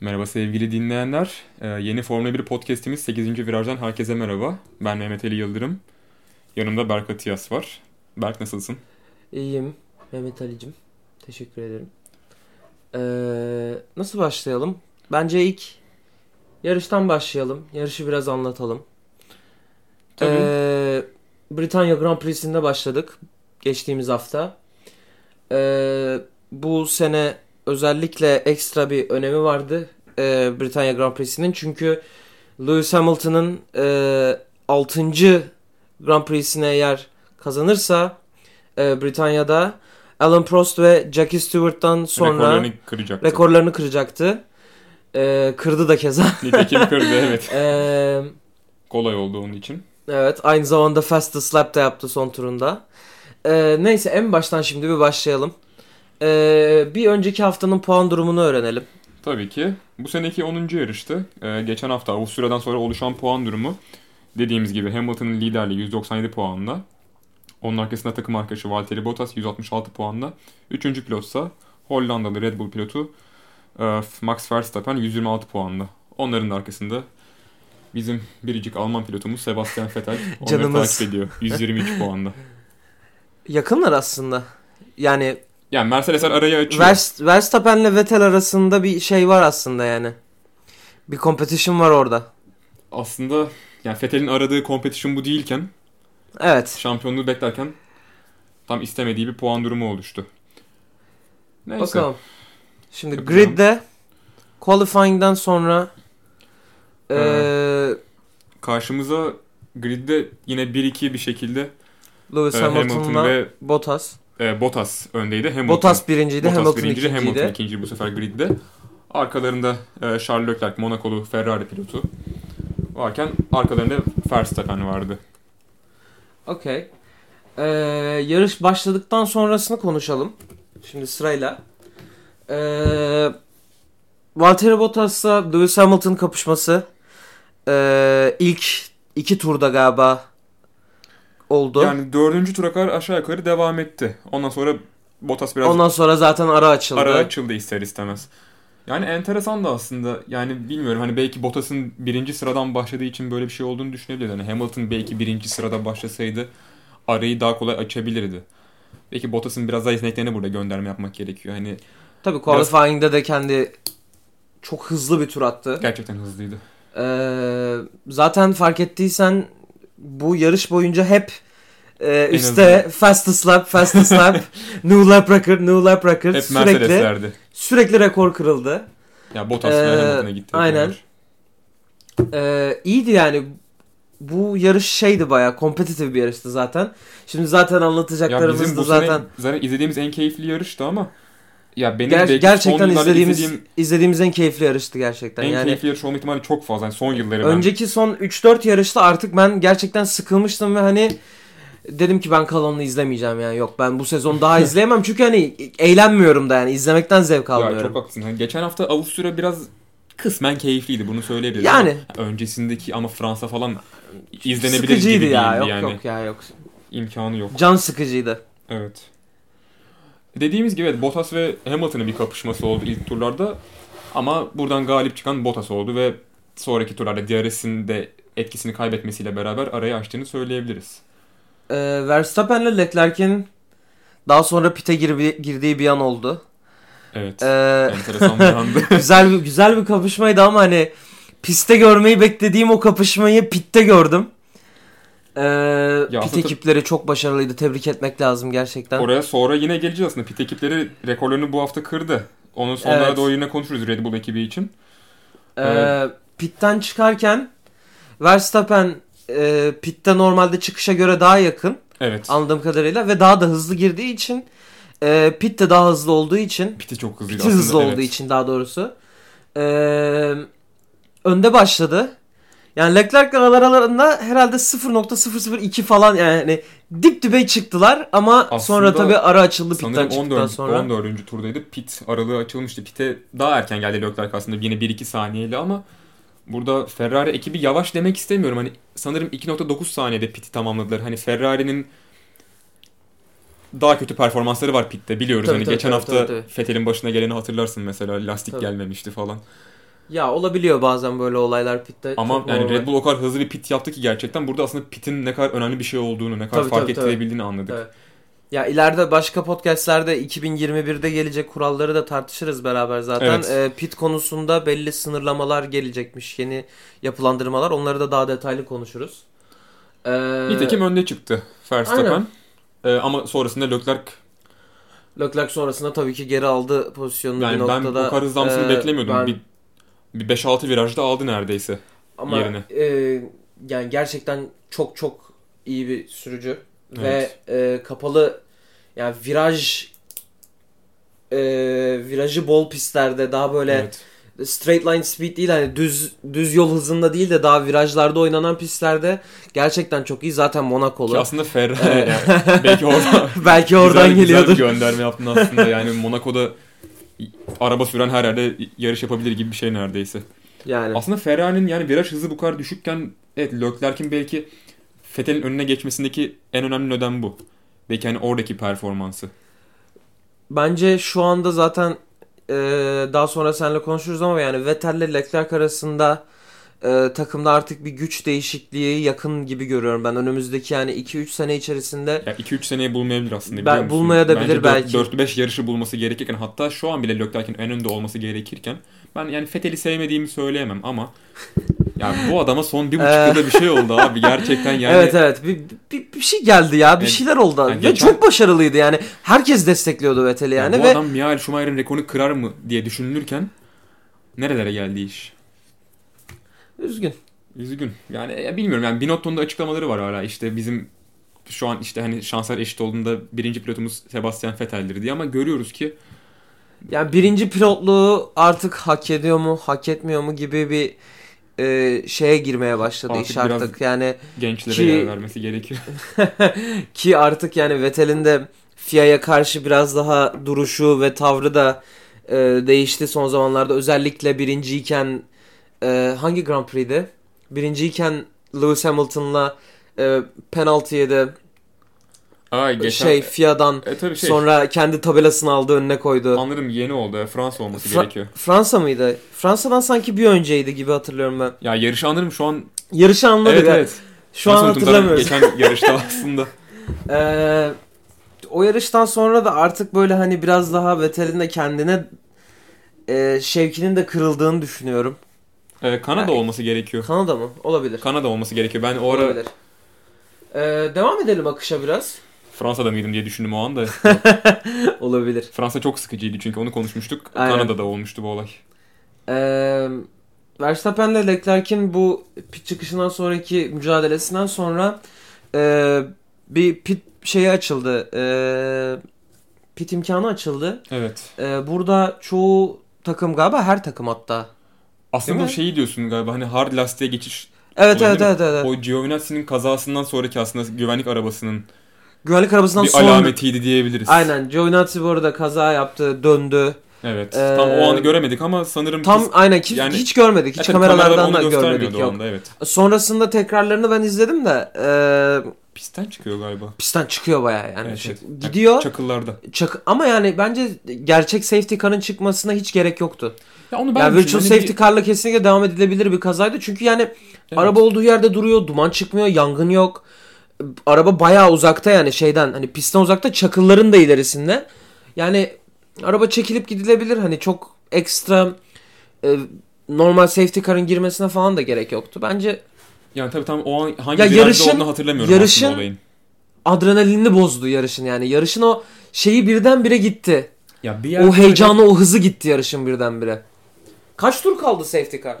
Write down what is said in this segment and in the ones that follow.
Merhaba sevgili dinleyenler. Ee, yeni Formula 1 podcast'imiz 8. Viraj'dan herkese merhaba. Ben Mehmet Ali Yıldırım. Yanımda Berk Atiyas var. Berk nasılsın? İyiyim Mehmet Ali'cim. Teşekkür ederim. Ee, nasıl başlayalım? Bence ilk yarıştan başlayalım. Yarışı biraz anlatalım. Tabii. Ee, Britanya Grand Prix'sinde başladık geçtiğimiz hafta. Ee, bu sene özellikle ekstra bir önemi vardı e, Britanya Grand Prix'sinin. Çünkü Lewis Hamilton'ın e, 6. Grand Prix'sine eğer kazanırsa e, Britanya'da Alan Prost ve Jackie Stewart'tan sonra Rekorlarını kıracaktı. rekorlarını kıracaktı. E, kırdı da keza. Nitekim kırdı evet. Eee Kolay oldu onun için. Evet aynı zamanda Fastest Slap da yaptı son turunda. Ee, neyse en baştan şimdi bir başlayalım. Ee, bir önceki haftanın puan durumunu öğrenelim. Tabii ki. Bu seneki 10. yarıştı. Ee, geçen hafta Avusturya'dan sonra oluşan puan durumu dediğimiz gibi Hamilton'ın liderliği 197 puanla. Onun arkasında takım arkadaşı Valtteri Bottas 166 puanla. Üçüncü pilotsa Hollandalı Red Bull pilotu e, Max Verstappen 126 puanla. Onların da arkasında bizim biricik Alman pilotumuz Sebastian Vettel onları Canımız. takip ediyor 123 puanla. Yakınlar aslında. Yani Yani Mercedesler arayı açıyor. Verst- Verstappen'le Vettel arasında bir şey var aslında yani. Bir competition var orada. Aslında yani Vettel'in aradığı competition bu değilken Evet. şampiyonluğu beklerken tam istemediği bir puan durumu oluştu. Neyse. Bakalım. Şimdi Yapacağım. gridde qualifying'den sonra ee, Karşımıza gridde yine 1-2 bir şekilde Lewis e, Hamilton, Hamilton'la ve Bottas. e, Bottas öndeydi. Hamilton, Bottas birinciydi, Bottas Hamilton birinciydi, ikinciydi. Hamilton ikinci bu sefer gridde. Arkalarında e, Charles Leclerc, Monakolu Ferrari pilotu varken arkalarında Verstappen vardı. Okey. Ee, yarış başladıktan sonrasını konuşalım. Şimdi sırayla. Ee, Valtteri Bottas'la Lewis Hamilton kapışması ee, ilk iki turda galiba oldu. Yani dördüncü tura kadar aşağı yukarı devam etti. Ondan sonra Bottas biraz Ondan sonra zaten ara açıldı. Ara açıldı ister istemez. Yani enteresan da aslında yani bilmiyorum hani belki Bottas'ın birinci sıradan başladığı için böyle bir şey olduğunu düşünebiliriz. Hani Hamilton belki birinci sırada başlasaydı arayı daha kolay açabilirdi. Belki Bottas'ın biraz daha yeteneklerine burada gönderme yapmak gerekiyor. Hani Tabii qualifying'de de kendi çok hızlı bir tur attı. gerçekten hızlıydı. Ee, zaten fark ettiysen bu yarış boyunca hep e, En üstte azından. fastest lap, fastest lap, new lap record, new lap record Hep sürekli Mercedes'lerdi. sürekli rekor kırıldı. Ya Bottas Ee, ve Hamilton'a gitti. aynen. tekrar. Ee, iyiydi yani bu yarış şeydi bayağı kompetitif bir yarıştı zaten. Şimdi zaten Ya anlatacaklarımız bizim da bu zaten zaten... zaten izlediğimiz en keyifli yarıştı ama ya benim ger- belki son gerçekten yıllarda izlediğimiz izlediğim izlediğimiz en keyifli yarıştı gerçekten. en yani keyifli yarış olma ihtimali çok fazla. Yani son yılları ben Önceki son 3-4 yarışta artık ben gerçekten sıkılmıştım ve hani dedim ki ben kalanını izlemeyeceğim yani yok ben bu sezon daha izleyemem çünkü hani eğlenmiyorum da yani izlemekten zevk Ya almıyorum. çok haklısın. Hani geçen hafta Avusturya biraz kısmen keyifliydi bunu söyleyebiliriz. Yani. ama öncesindeki ama Fransa falan izlenebilir sıkıcıydı gibi ya değildi yok yani. yok ya yok. İmkanı yok. Can sıkıcıydı. Evet. Dediğimiz gibi evet, Bottas ve Hamilton'ın bir kapışması oldu ilk turlarda. Ama buradan galip çıkan Bottas oldu ve sonraki turlarda DRS'in de etkisini kaybetmesiyle beraber arayı açtığını söyleyebiliriz. Ee, Verstappen'le Leclerc'in daha sonra pite girbi- girdiği bir an oldu. Evet. Ee, Enteresan bir andı. güzel bir güzel bir kapışmaydı ama hani piste görmeyi beklediğim o kapışmayı pitte gördüm. Ee, pit aslında- ekipleri çok başarılıydı. Tebrik etmek lazım gerçekten. Oraya sonra yine geleceğiz aslında. Pit ekipleri rekorlarını bu hafta kırdı. Onun sonlara Evet. doğru yine konuşuruz Red Bull ekibi için. Ee, Evet. pitten çıkarken Verstappen e, pitte normalde çıkışa göre daha yakın Evet. anladığım kadarıyla ve daha da hızlı girdiği için e, pit de daha hızlı olduğu için Piti çok hızlıydı pit aslında. hızlı evet. olduğu için daha doğrusu ee, önde başladı. Yani Leclerc aralarında herhalde 0.002 falan yani hani dip dibe çıktılar ama Aslında sonra tabi ara açıldı pitten Sanırım çıktıktan 14. sonra. 14. turdaydı. Pit aralığı açılmıştı. Pite daha erken geldi Leclerc aslında yine 1-2 saniyeyle ama burada Ferrari ekibi yavaş demek istemiyorum. Hani sanırım 2.9 saniyede piti tamamladılar. Hani Ferrari'nin daha kötü performansları var pitte biliyoruz. Tabii, hani tabii, geçen tabii, hafta tabii, tabii. Vettel'in başına geleni hatırlarsın mesela lastik Tabii. gelmemişti falan. Ya olabiliyor bazen böyle olaylar pitte. Ama Çok yani normal. Red Bull o kadar hızlı bir pit yaptı ki gerçekten burada aslında pitin ne kadar önemli bir şey olduğunu, ne kadar Tabii, fark tabii, tabii. ettirebildiğini anladık. Evet. Ya ileride başka podcastlerde 2021'de gelecek kuralları da tartışırız beraber zaten. Evet. Ee, pit konusunda belli sınırlamalar gelecekmiş. Yeni yapılandırmalar. Onları da daha detaylı konuşuruz. Ee, Nitekim önde çıktı Verstappen. Aynen. Ee, ama sonrasında Leclerc Leclerc sonrasında tabii ki geri aldı pozisyonunu bir yani ben o noktada. kadar hızlanmasını Ee, beklemiyordum. ben- Bir, bir 5-6 virajda aldı neredeyse. Ama yerine. e, yani gerçekten çok çok iyi bir sürücü Evet. ve e, kapalı yani viraj e, virajı bol pistlerde daha böyle Evet. straight line speed değil hani düz düz yol hızında değil de daha virajlarda oynanan pistlerde gerçekten çok iyi zaten Ki Monakolu. aslında Ferrari yani belki oradan Belki oradan güzel, geliyordur. Güzel bir gönderme yaptın aslında. Yani Monaco'da araba süren her yerde yarış yapabilir gibi bir şey neredeyse. yani Aslında Ferrari'nin yani viraj hızı bu kadar düşükken evet Leclerc'in belki Vettel'in önüne geçmesindeki en önemli neden bu. Belki hani oradaki performansı. Bence şu anda zaten e, daha sonra seninle konuşuruz ama yani Vettel'le Leclerc arasında e, takımda artık bir güç değişikliği yakın gibi görüyorum ben. Önümüzdeki yani 2-3 sene içerisinde Ya 2-3 seneye bulmayabilir aslında. Ben- biliyor musun? bulmaya da bilir belki. 4-5 yarışı bulması gerekirken hatta şu an bile Leclerc'in en önde olması gerekirken ben yani Vettel'i sevmediğimi söyleyemem ama yani bu adama son bir buçuk Ee. yılda bir şey oldu abi gerçekten yani. evet evet bir, bir, bir şey geldi ya bir Yani- şeyler oldu. yani Ve geçen- çok başarılıydı yani. Herkes destekliyordu Vettel'i yani, bu ve adam Mihail Schumacher'in rekorunu kırar mı diye düşünülürken nerelere geldi iş? üzgün. Üzgün. Yani ya bilmiyorum yani Binotto'nun da açıklamaları var hala işte bizim şu an işte hani şanslar eşit olduğunda birinci pilotumuz Sebastian Vettel'dir diye ama görüyoruz ki Yani birinci pilotluğu artık hak ediyor mu hak etmiyor mu gibi bir e, şeye girmeye başladı Artık iş biraz- artık. Yani gençlere Ki- yer vermesi gerekiyor. Ki artık yani Vettel'in de FIA'ya karşı biraz daha duruşu ve tavrı da e, değişti son zamanlarda. Özellikle birinciyken e, hangi Grand Prix'di? Birinciyken Lewis Hamilton'la e, penaltı yedi. Aa, geçen, Şey FIA'dan e, tabii şey, sonra kendi tabelasını aldı önüne koydu. anladım yeni oldu E, Fransa olması Fra- gerekiyor. Fransa mıydı? Fransa'dan sanki bir önceydi gibi hatırlıyorum ben. Ya yarışı anlarım şu an. Yarışı anladık. evet ha. evet. Şu Nasıl an unuttum? hatırlamıyoruz. Zaten Geçen yarışta aslında. Ee, o yarıştan sonra da artık böyle hani biraz daha Vettel'in de kendine e, şevkinin de kırıldığını düşünüyorum. E, Kanada Ha, olması gerekiyor. Kanada mı? Olabilir. Kanada olması gerekiyor. Ben o ara Olabilir. Ee, devam edelim akışa biraz. Fransa'da mıydım diye düşündüm o anda. Olabilir. Fransa çok sıkıcıydı çünkü onu konuşmuştuk. Aynen. Kanada'da olmuştu bu olay. Ee, Verstappen'le Leclerc'in bu pit çıkışından sonraki mücadelesinden sonra e, bir pit şeyi açıldı. E, pit imkanı açıldı. Evet. E, burada çoğu takım galiba her takım hatta. Aslında Değil bu mi? şeyi diyorsun galiba hani hard lastiğe geçiş. Evet Öyle evet, değil evet evet evet. O Giovinazzi'nin kazasından sonraki aslında güvenlik arabasının Güvenlik arabasından bir sonra... alametiydi diyebiliriz. Aynen. Giovinazzi bu arada kaza yaptı, döndü. Evet. Ee, Tam o anı göremedik ama sanırım Tam biz- aynen ki- yani- hiç görmedik. Ya Hiç tabii kameralardan kameralar da onu göstermiyordu görmedik o yok. anda evet. Sonrasında tekrarlarını ben izledim de e, Pistten çıkıyor galiba. pistten çıkıyor bayağı yani. Evet, Şey- evet. Gidiyor. Çakıllarda. çak- ama yani bence gerçek safety car'ın çıkmasına hiç gerek yoktu. Ya onu yani düşünüyorum. virtual Hani safety bir- car'la kesinlikle devam edilebilir bir kazaydı. Çünkü yani Evet. araba olduğu yerde duruyor, duman çıkmıyor, yangın yok. Araba bayağı uzakta yani şeyden hani pistten uzakta çakılların da ilerisinde. Yani araba çekilip gidilebilir hani çok ekstra e, normal safety car'ın girmesine falan da gerek yoktu. Bence Yani tabii tam o an hangi Ya virajda yarışın- olduğunu hatırlamıyorum yarışın- aslında olayın. adrenalinini bozdu yarışın yani. Yarışın o şeyi birdenbire gitti. Ya O heyecanı, o hızı gitti yarışın birdenbire. Kaç tur kaldı safety car?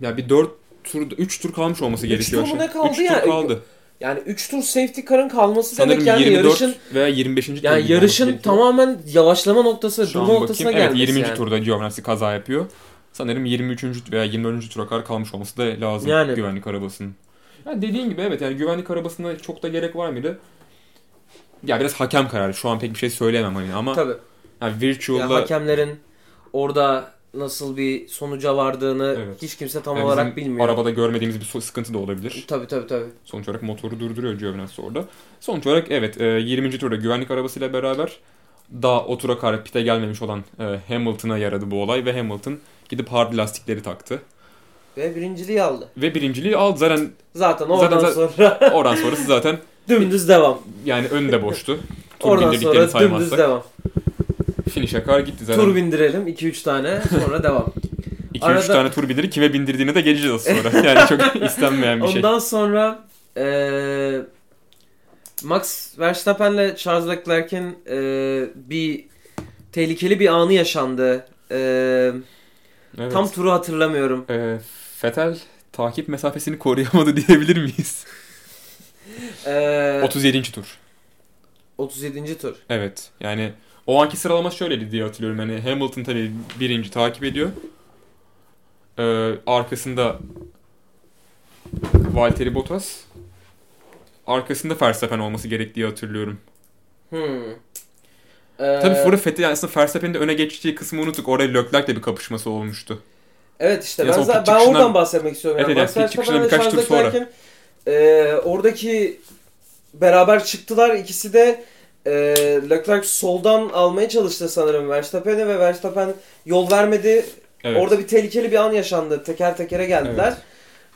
Ya bir 4 tur 3 tur kalmış olması Üç gerekiyor. tur mu aşağı- ne kaldı Üç ya? tur kaldı. Yani 3 tur safety car'ın kalması Sanırım demek yani 24 yarışın veya 25. tur gibi yani olması yarışın gerekiyor. tamamen yavaşlama noktası, Şu durma an bakayım. noktasına evet, gelmesi 20. yani. turda Giovinazzi kaza yapıyor. Sanırım 23. veya 24. tura kadar kalmış olması da lazım Yani. güvenlik arabasının. Yani dediğin gibi evet yani güvenlik arabasına çok da gerek var mıydı? Ya biraz hakem kararı. Şu an pek bir şey söyleyemem hani ama Tabii. yani Ya Virtual'la hakemlerin orada nasıl bir sonuca vardığını Evet. hiç kimse tam yani olarak bizim bilmiyor. arabada görmediğimiz bir so- sıkıntı da olabilir. Tabii tabii tabii. Sonuç olarak motoru durduruyor Giovinazzi orada. Sonuç olarak evet e, 20. turda güvenlik arabasıyla beraber daha otura kar pite gelmemiş olan e, Hamilton'a yaradı bu olay ve Hamilton gidip hard lastikleri taktı. Ve birinciliği aldı. Ve birinciliği aldı. Zaten Zaten oradan Zaten- sonra oradan sonrası zaten dümdüz devam. yani önde boştu. Tur Oradan bindirdiklerini sonra dümdüz saymazsak. devam. Finish'e kadar gitti zaten. Tur bindirelim 2-3 tane sonra devam. 2-3 Arada- tane tur bindiri kime bindirdiğine de geleceğiz az sonra. Yani çok istenmeyen bir şey. Ondan sonra eee, Max Verstappen'le Charles Leclerc'in eee, bir tehlikeli bir anı yaşandı. E, Eee, Evet. Tam turu hatırlamıyorum. Ee, Fetel takip mesafesini koruyamadı diyebilir miyiz? Eee 37. tur. 37. Ee, tur. Evet. Yani o anki sıralama şöyleydi diye hatırlıyorum. Hani Hamilton tabii birinci takip ediyor. Ee, arkasında Valtteri Bottas. Arkasında Verstappen olması gerektiği hatırlıyorum. Hmm. Tabii Eee, Fora Fetel yani aslında Verstappen'in de öne geçtiği kısmı unuttuk. Orada Leclerc'le bir kapışması olmuştu. Evet işte Ya ben, son pit za- ben çıkışından- oradan bahsetmek istiyorum. Evet, yani. evet, Max pit çıkışından Verstappen'le birkaç Charles tur sonra. Leclerc'in, eee, e, oradaki beraber çıktılar. İkisi de eee Leclerc soldan almaya çalıştı sanırım Verstappen'e ve Verstappen yol vermedi. Evet. Orada bir tehlikeli bir an yaşandı. Teker tekere geldiler.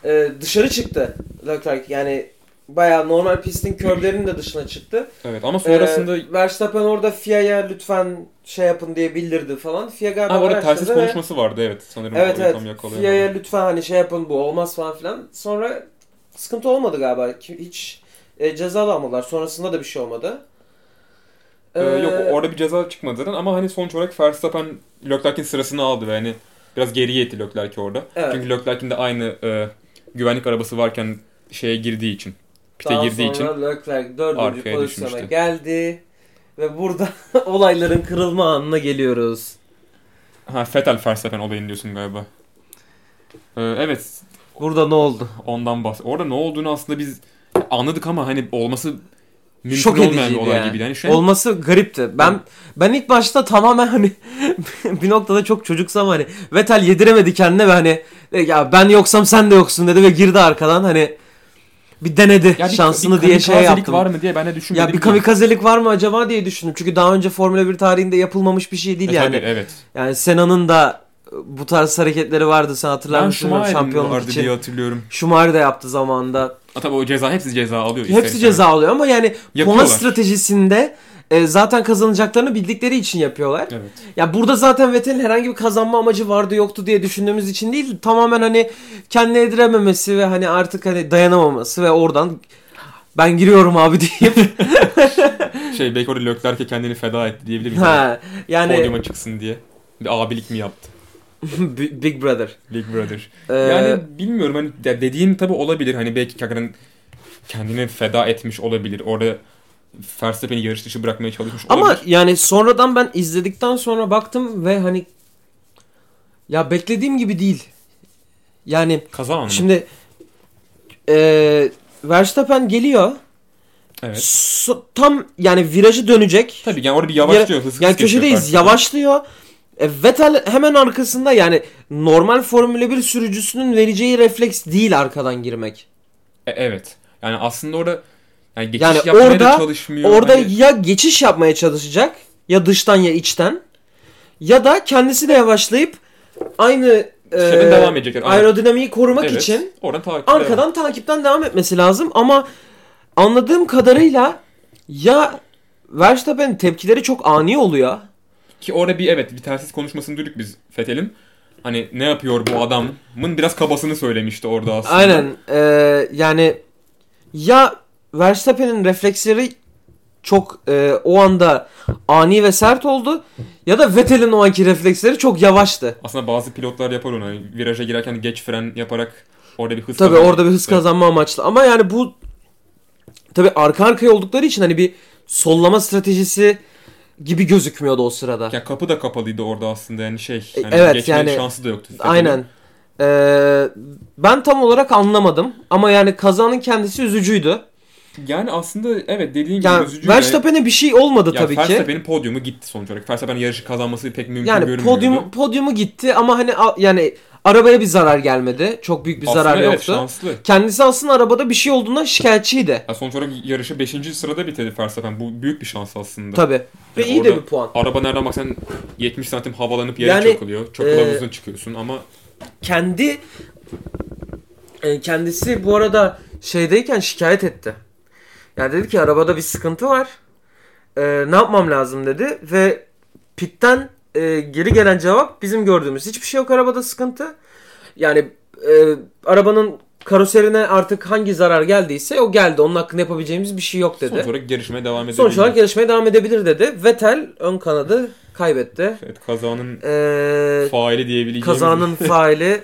Eee, dışarı çıktı Leclerc. Yani bayağı normal pistin körlerinin de dışına çıktı. Evet ama sonrasında Ee, Verstappen orada FIA'ya lütfen şey yapın diye bildirdi falan. FIA galiba ha, orada araştırdı telsiz ve- konuşması vardı evet sanırım. Evet orayı tam evet. yakalayamadım. FIA'ya lütfen hani şey yapın bu olmaz falan filan. Sonra sıkıntı olmadı galiba. Ki- Hiç e, ceza da almadılar. Sonrasında da bir şey olmadı. Ee, yok Ee, orada bir ceza çıkmadı zaten ama hani sonuç olarak Verstappen Leclerc'in sırasını aldı ve hani biraz geriye itti Leclerc orada. Evet. Çünkü Leclerc'in de aynı e, güvenlik arabası varken şeye girdiği için, pite daha girdiği için sonra Leclerc dördüncü arkaya pozisyona düşmüştü. geldi. Ve burada olayların kırılma anına geliyoruz. ha Fetal Verstappen olayını diyorsun galiba. Ee, evet, Burada ne oldu? ondan bahs. Orada ne olduğunu aslında biz anladık ama hani olması mümkün Şok olmayan bir ediciydi olay yani. gibi. Yani şey Olması garipti. Ben ben ilk başta tamamen hani bir noktada çok çocuksam hani Vettel yediremedi kendine ve hani "E, ya ben yoksam sen de yoksun dedi ve girdi arkadan hani bir denedi Ya bir- şansını bir diye şey kamikazelik yaptım. var mı diye ben de düşünmedim. ya bir kamikazelik var mı acaba diye düşündüm. Çünkü daha önce Formula 1 tarihinde yapılmamış bir şey değil E, yani. tabii, evet. Yani Senna'nın da e, bu tarz hareketleri vardı. Sen hatırlar Ben mısın bilmiyorum, Schumacher'in şampiyonluk vardı için. diye hatırlıyorum. Schumacher da yaptı zamanında. Ha, tabii o ceza hepsi ceza alıyor. ister Hepsi istemez. ceza alıyor ama yani puan Yapıyorlar. stratejisinde e, zaten kazanacaklarını bildikleri için yapıyorlar. Evet. Ya burada zaten Vettel'in herhangi bir kazanma amacı vardı yoktu diye düşündüğümüz için değil. Tamamen hani kendine yedirememesi ve hani artık hani dayanamaması ve oradan ben giriyorum abi deyip Şey belki orada Leclerc'e kendini feda etti diyebilir miyiz? Hani ha, yani Podyuma çıksın diye. Bir abilik mi yaptı? Big Big Brother. Big Brother. Ee, yani bilmiyorum hani de- dediğin tabii olabilir. Hani belki Kakar'ın kendini feda etmiş olabilir. Orada Verstappen'i yarış dışı bırakmaya çalışmış ama olabilir. yani sonradan ben izledikten sonra baktım ve hani ya beklediğim gibi değil. Yani Kaza anı. Şimdi eee Verstappen geliyor. evet. So- tam yani virajı dönecek. Tabii yani orada bir yavaşlıyor. Hız hız yani geçiyor köşedeyiz. Verstappen. Yavaşlıyor. E, Vettel hemen arkasında yani normal Formula 1 sürücüsünün vereceği refleks değil arkadan girmek. E, evet. Yani aslında orada yani geçiş Yani yapmaya orada- da çalışmıyor. Orada Hani ya geçiş yapmaya çalışacak ya dıştan ya içten ya da kendisi de yavaşlayıp aynı şeyden eee, devam edecekler. Aynen. aerodinamiği korumak Evet. için Oradan takip arkadan takipten devam etmesi lazım ama anladığım kadarıyla ya Verstappen tepkileri çok ani oluyor. Ki orada bir evet bir telsiz konuşmasını duyduk biz Fetel'in. Hani ne yapıyor bu adamın biraz kabasını söylemişti orada aslında. Aynen eee, yani ya Verstappen'in refleksleri çok eee, o anda ani ve sert oldu ya da Vettel'in o anki refleksleri çok yavaştı. Aslında bazı pilotlar yapar onu. Hani viraja girerken geç fren yaparak orada bir hız Tabi kazanır. orada bir hız Evet. kazanma amaçlı ama yani bu tabi arka arkaya oldukları için hani bir sollama stratejisi gibi gözükmüyordu o sırada. Yani kapı da kapalıydı orada aslında yani şey. E, Yani evet, geçme yani- şansı da yoktu. Fethel'in. Aynen. Ee, ben tam olarak anlamadım ama yani kazanın kendisi üzücüydü. Yani aslında evet dediğin gibi Yani üzücü. ve- Verstappen'e bir şey olmadı ya tabii ki. Verstappen'in podyumu gitti sonuç olarak. Verstappen'in yarışı kazanması pek mümkün Yani görünmüyordu. podyum podyumu gitti ama hani a- yani Arabaya bir zarar gelmedi. Çok büyük bir Aslında zarar evet, yoktu. şanslı. Kendisi aslında arabada bir şey olduğundan şikayetçiydi. Ya sonuç olarak yarışı 5. sırada bitirdi Verstappen. Bu büyük bir şans aslında. Tabi. Ve Yani iyi de orada- bir puan. Araba nereden baksan 70 santim havalanıp yere Yani, çakılıyor. Çok kılavuzdan e, çıkıyorsun ama Kendi e, kendisi bu arada şeydeyken şikayet etti. Ya dedi ki arabada bir sıkıntı var. E, ne yapmam lazım dedi ve pitten e, geri gelen cevap bizim gördüğümüz hiçbir şey yok arabada sıkıntı. Yani e, arabanın karoserine artık hangi zarar geldiyse o geldi. Onun hakkında yapabileceğimiz bir şey yok dedi. sonuç olarak yarışmaya devam edebilir. Sonuç olarak yarışmaya devam edebilir dedi. Vettel ön kanadı kaybetti. Evet, kazanın Ee, faili diyebileceğimiz. kazanın faili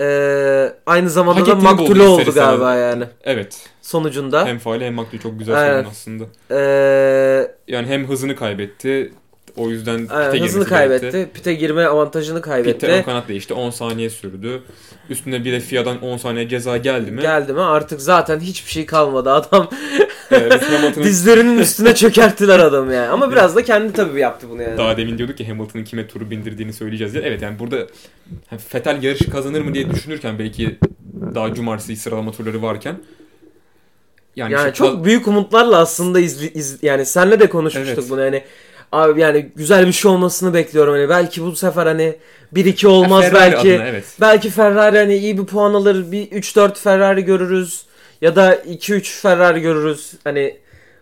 ee, aynı zamanda Hak da ettiğini buldu maktulü oldu ister galiba istemez. yani. Evet. Sonucunda. Hem faili hem maktul çok güzel Evet. sorun aslında. ee, Yani hem hızını kaybetti. O yüzden pite aynen, girmesi e, hızını gerekti. kaybetti. Pite girme avantajını Pite ön kaybetti. kanat değişti. 10 saniye sürdü. Üstüne bir de FIA'dan 10 saniye ceza geldi mi? Geldi mi artık zaten hiçbir şey kalmadı adam. Ee, Lewis Hamilton'ın- Dizlerinin üstüne çökerttiler adamı yani. Ama biraz da kendi tabii yaptı bunu yani. Daha demin diyorduk ki Hamilton'ın kime turu bindirdiğini söyleyeceğiz diye. Evet yani burada hani Fetel yarışı kazanır mı diye düşünürken belki daha cumartesi sıralama turları varken yani, Yani işte çok büyük umutlarla aslında izli, iz- yani senle de konuşmuştuk Evet. bunu yani abi yani güzel bir şey olmasını bekliyorum hani belki bu sefer hani 1 2 Ha, olmaz Ferrari belki adına, evet. belki Ferrari hani iyi bir puan alır bir 3 4 Ferrari görürüz ya da 2 3 Ferrari görürüz hani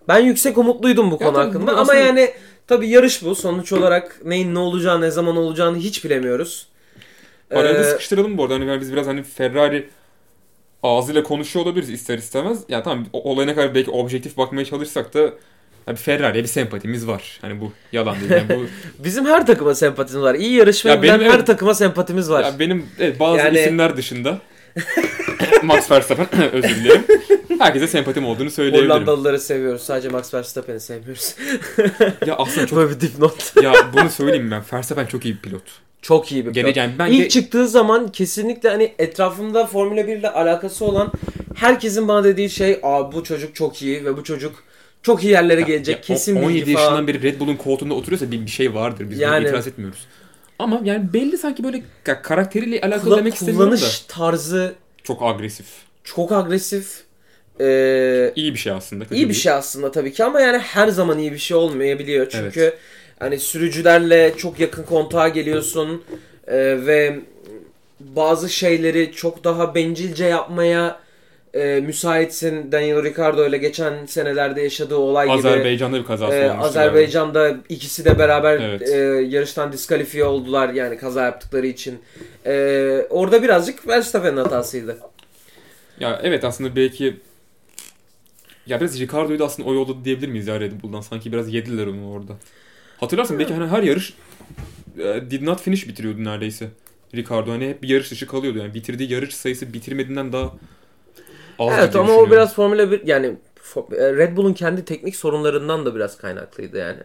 ben yüksek umutluydum bu Ya konu tabii hakkında bu ama aslında- yani tabii yarış bu sonuç olarak neyin ne olacağı ne zaman olacağını hiç bilemiyoruz. Arada Ee, sıkıştıralım bu arada. Hani yani biz biraz hani Ferrari ağzıyla konuşuyor olabiliriz ister istemez. Ya tamam o- olaya ne kadar belki objektif bakmaya çalışsak da hani Ferrari'ye bir sempatimiz var. Hani bu yalan değil. Yani bu, bizim her takıma sempatimiz var. İyi yarışma Ya benim bilen her evet- takıma sempatimiz var. ya benim evet, bazı Yani- isimler dışında Max Verstappen özür dilerim. Herkese sempatim olduğunu söyleyebilirim. Hollandalıları seviyoruz. Sadece Max Verstappen'i sevmiyoruz. Ya aslında çok Böyle bir dipnot. ya bunu söyleyeyim ben. Verstappen çok iyi bir pilot. Çok iyi bir Gene pilot. yani ben İlk de- çıktığı zaman kesinlikle hani etrafımda Formula 1 ile alakası olan herkesin bana dediği şey Aa, bu çocuk çok iyi ve bu çocuk çok iyi yerlere gelecek. Ya, o- kesin bilgi 17 falan. yaşından beri Red Bull'un koltuğunda oturuyorsa bir, bir şey vardır. Biz Yani- bunu itiraz etmiyoruz. Ama yani belli sanki böyle ka- karakteriyle alakalı Kula- demek istemiyorum kullanış da. tarzı Çok agresif. çok agresif. Ee, İyi bir şey aslında. kötü İyi bir değil. şey aslında tabii ki ama yani her zaman iyi bir şey olmayabiliyor. Çünkü Evet. hani sürücülerle çok yakın kontağa geliyorsun e, ve bazı şeyleri çok daha bencilce yapmaya e, müsaitsin. Daniel Ricciardo ile geçen senelerde yaşadığı olay gibi. Azerbaycan'da bir kazası e, olmuştu. Azerbaycan'da ikisi de beraber Evet. e, yarıştan diskalifiye oldular yani kaza yaptıkları için. E, orada birazcık Verstappen'in hatasıydı. galiba. Ya evet aslında belki ya biraz Ricardo'yu da aslında o yolda diyebilir miyiz ya Red Bull'dan? Sanki biraz yediler onu orada. Hatırlarsın belki hani her yarış e, did not finish bitiriyordu neredeyse. Ricardo hani hep bir yarış dışı kalıyordu. Yani bitirdiği yarış sayısı bitirmediğinden daha azdı Evet diye ama o düşünüyorum. biraz Formula 1 yani fo- e, Red Bull'un kendi teknik sorunlarından da biraz kaynaklıydı yani.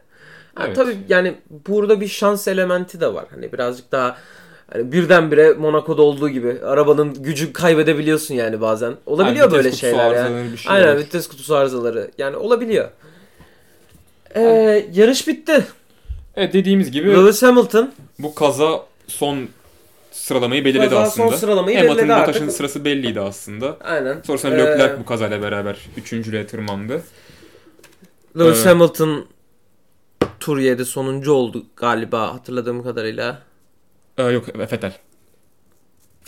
Ha, Evet. Tabii yani burada bir şans elementi de var. Hani birazcık daha hani birdenbire Monaco'da olduğu gibi arabanın gücü kaybedebiliyorsun yani bazen. Olabiliyor Yani vites böyle kutusu şeyler yani. arızaları bir şey Aynen olur. vites kutusu arızaları. Yani olabiliyor. Ee, yarış bitti. Evet dediğimiz gibi Lewis Hamilton bu kaza son sıralamayı belirledi Kaza son aslında. sıralamayı Hamilton belirledi Bottas'ın artık. sırası belliydi aslında. aynen. Sonrasında Ee, Leclerc bu kazayla beraber üçüncülüğe tırmandı. Lewis Ee, Hamilton tur 7 sonuncu oldu galiba hatırladığım kadarıyla. Ee, yok e, Vettel.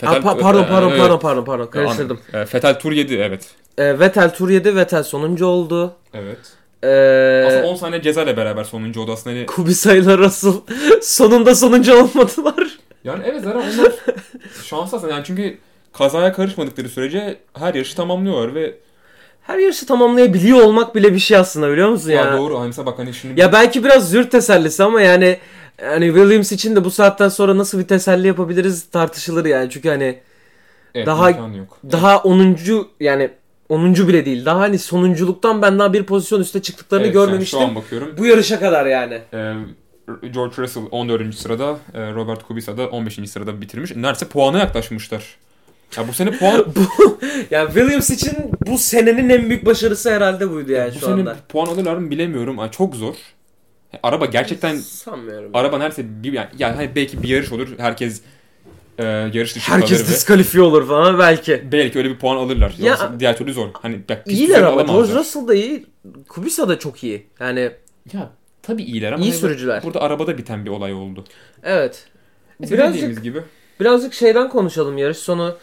Aa, pa- pardon e, pardon e, pardon pardon pardon e, an- karıştırdım. e, Vettel tur 7 evet. Ee, Vettel tur yedi, Vettel sonuncu oldu. Evet. Aslında Ee, 10 saniye ceza ile beraber sonuncu oldu aslında. Hani, Kubica ile Russell sonunda sonuncu olmadılar. yani evet zaten onlar şanslı aslında. Yani çünkü kazaya karışmadıkları sürece her yarışı tamamlıyorlar ve Her yarışı tamamlayabiliyor olmak bile bir şey aslında biliyor musun ya. ya? doğru hani mesela bak hani şimdi Ya belki biraz zürt tesellisi ama yani hani Williams için de bu saatten sonra nasıl bir teselli yapabiliriz tartışılır yani. Çünkü hani evet, daha- imkanı yok. daha 10. yani 10. bile değil. Daha hani sonunculuktan ben daha bir pozisyon üste çıktıklarını Evet, yani görmemiştim. şu an bakıyorum. Bu yarışa kadar yani. Ee, George Russell 14. sırada, e, Robert Kubica da 15. sırada bitirmiş. Neredeyse puana yaklaşmışlar. Ya bu sene puan Bu yani Williams için bu senenin en büyük başarısı herhalde buydu yani bu Ee, şu sene anda. puan alırlar mı bilemiyorum. Ay, çok zor. E, Araba gerçekten şey sanmıyorum. araba neredeyse bir yani, yani hani belki bir yarış olur. Herkes e, yarış dışı kalır Herkes ve diskalifiye olur falan belki. belki öyle bir puan alırlar. Ya- Yoksa diğer türlü zor. Hani ya, pist İyiler üzerinde ama George alamazlar. Russell da iyi. Kubica da çok iyi. Yani Ya tabii iyiler ama iyi hani sürücüler. burada arabada biten bir olay oldu. Evet. Mesela Birazcık dediğimiz gibi Birazcık şeyden konuşalım yarış sonu.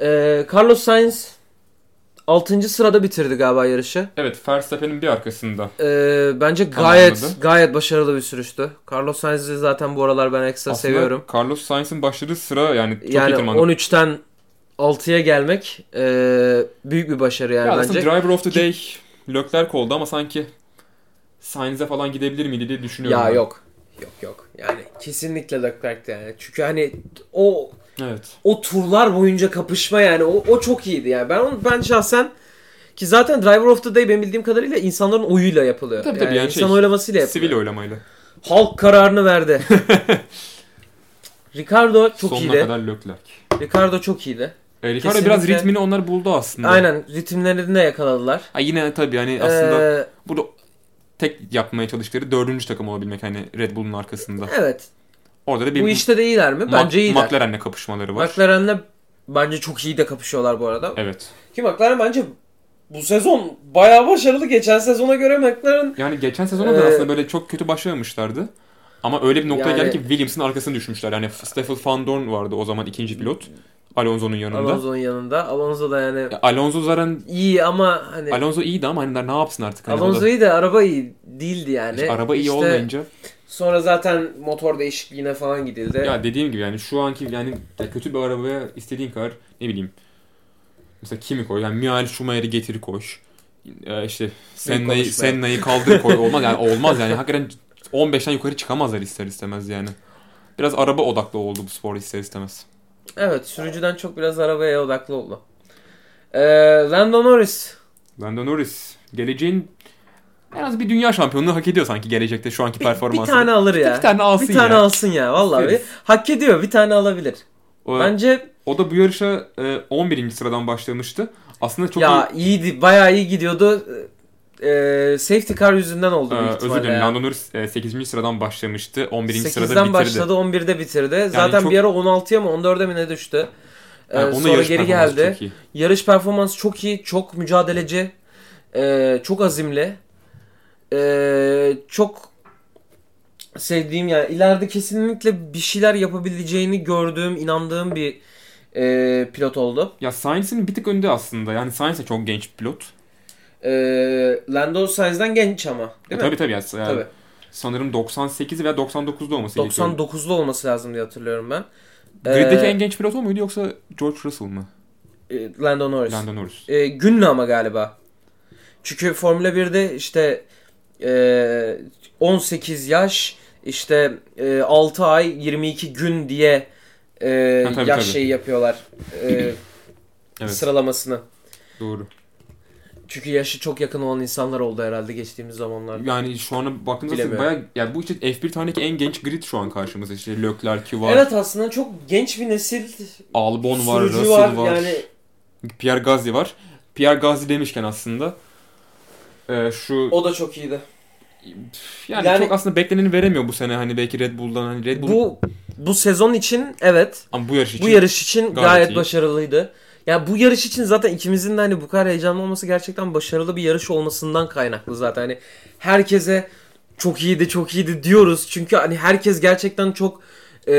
Ee, Carlos Sainz 6. sırada bitirdi galiba yarışı. evet Verstappen'in bir arkasında Ee, bence gayet Tamamladı. gayet başarılı bir sürüştü. Carlos Sainz'i zaten bu aralar ben ekstra Aslında seviyorum. Carlos Sainz'in başladığı sıra yani çok iyi Yani tırmandı. 13'ten 6'ya gelmek e, büyük bir başarı yani ya bence. aslında Driver of the Day Leclerc oldu ama sanki Sainz'e falan gidebilir miydi diye düşünüyorum. ya ben. yok. Yok yok. Yani kesinlikle Leclerc'ti yani. Çünkü hani o Evet. o turlar boyunca kapışma yani o, o çok iyiydi yani. Ben onu ben şahsen ki zaten Driver of the Day benim bildiğim kadarıyla insanların oyuyla yapılıyor. Tabii tabii, yani insan şey, oylamasıyla yapılıyor. Sivil oylamayla. Halk kararını verdi. Ricardo çok Sonuna iyiydi. kadar Leclerc. Ricardo çok iyiydi. E, Ricardo Kesinlikle. biraz ritmini onlar buldu aslında. Aynen ritimlerini de yakaladılar. Ha, yine tabii hani aslında Ee, burada tek yapmaya çalıştıkları dördüncü takım olabilmek hani Red Bull'un arkasında. evet. Orada da bir Bu işte de iyiler mi? Ma- Bence iyiler. McLaren'le kapışmaları var. McLaren'le bence çok iyi de kapışıyorlar bu arada. Evet. Ki McLaren bence bu sezon bayağı başarılı. Geçen sezona göre McLaren Yani geçen sezona da Ee, aslında böyle çok kötü başlamamışlardı. Ama öyle bir noktaya Yani- geldi ki Williams'ın arkasına düşmüşler. Yani Stoffel Van Dorn vardı o zaman ikinci pilot. Alonso'nun yanında. Alonso, Alonso'nun yanında. Alonso da yani Alonso zaten iyi ama hani Alonso iyiydi ama hani ne yapsın artık. Hani o da- Alonso iyi de araba iyi değildi yani. İşte araba iyi İşte olmayınca. Sonra zaten motor değişikliğine falan gidildi. Ya dediğim gibi yani şu anki yani ya kötü bir arabaya istediğin kadar ne bileyim. Mesela kimi koy? Yani Michael Schumacher'i getir koy. Ee, işte Senna'yı, konuşma ya. Senna'yı kaldır koy. Olmaz yani olmaz yani. Hakikaten 15'ten yukarı çıkamazlar ister istemez yani. Biraz araba odaklı oldu bu spor ister istemez. Evet sürücüden çok biraz arabaya odaklı oldu. Ee, Lando Norris. Lando Norris geleceğin en az bir dünya şampiyonluğu hak ediyor sanki gelecekte şu anki Bir, performansı. bir tane alır ya. Bir tane alsın Bir tane ya. alsın ya vallahi. Bir, İsteriz. hak ediyor bir tane alabilir. O, Bence o da bu yarışa e, 11. sıradan başlamıştı. Aslında çok iyi- ya iyiydi bayağı iyi gidiyordu. Ee, safety car yüzünden oldu Ee, büyük özür ihtimalle. dilerim. ya. Lando Norris e, 8. sıradan başlamıştı. 11. 8'den sırada bitirdi. başladı 11'de bitirdi. Zaten çok- bir ara 16'ya mı 14'e mi ne düştü. Ee, Yani onun da sonra yarış geri performansı geldi. çok iyi. Yarış performansı çok iyi, çok mücadeleci, ee, çok azimli. Ee, çok sevdiğim yani ileride kesinlikle bir şeyler yapabileceğini gördüğüm, inandığım bir ee, pilot oldu. Ya Sainz'in bir tık önde aslında. Yani Sainz de çok genç bir pilot. E, Ee, Lando Sainz'den genç ama E, değil mi? tabii tabii. Yani, Tabii. Sanırım 98 veya 99'da olması gerekiyor. 99'lu olması lazım diye hatırlıyorum ben. Griddeki Ee, en genç pilot o muydu yoksa George Russell mı? e, Lando Norris. Lando Norris. E, Günlü ama galiba. Çünkü Formula 1'de işte e, 18 yaş işte e, 6 ay 22 gün diye e, Ha, tabii, yaş tabii. şeyi yapıyorlar e, Evet sıralamasını. doğru. Çünkü yaşı çok yakın olan insanlar oldu herhalde geçtiğimiz zamanlarda. Yani şu ana baktığımızda Bilemiyorum. bayağı yani bu işte F1 taneki en genç grid şu an karşımızda. İşte Leclerc var, Evet aslında çok genç bir nesil Albon var, sürücü Russell var, var. yani Pierre Gasly var. Pierre Gasly demişken aslında e, şu o da çok iyiydi. Yani, Yani- çok aslında bekleneni veremiyor bu sene hani belki Red Bull'dan hani Red Bull Bu bu sezon için evet ama bu yarış için Bu yarış için gayet, gayet iyi. başarılıydı. Ya bu yarış için zaten ikimizin de hani bu kadar heyecanlı olması gerçekten başarılı bir yarış olmasından kaynaklı zaten. Hani herkese çok iyiydi, çok iyiydi diyoruz. Çünkü hani herkes gerçekten çok eee,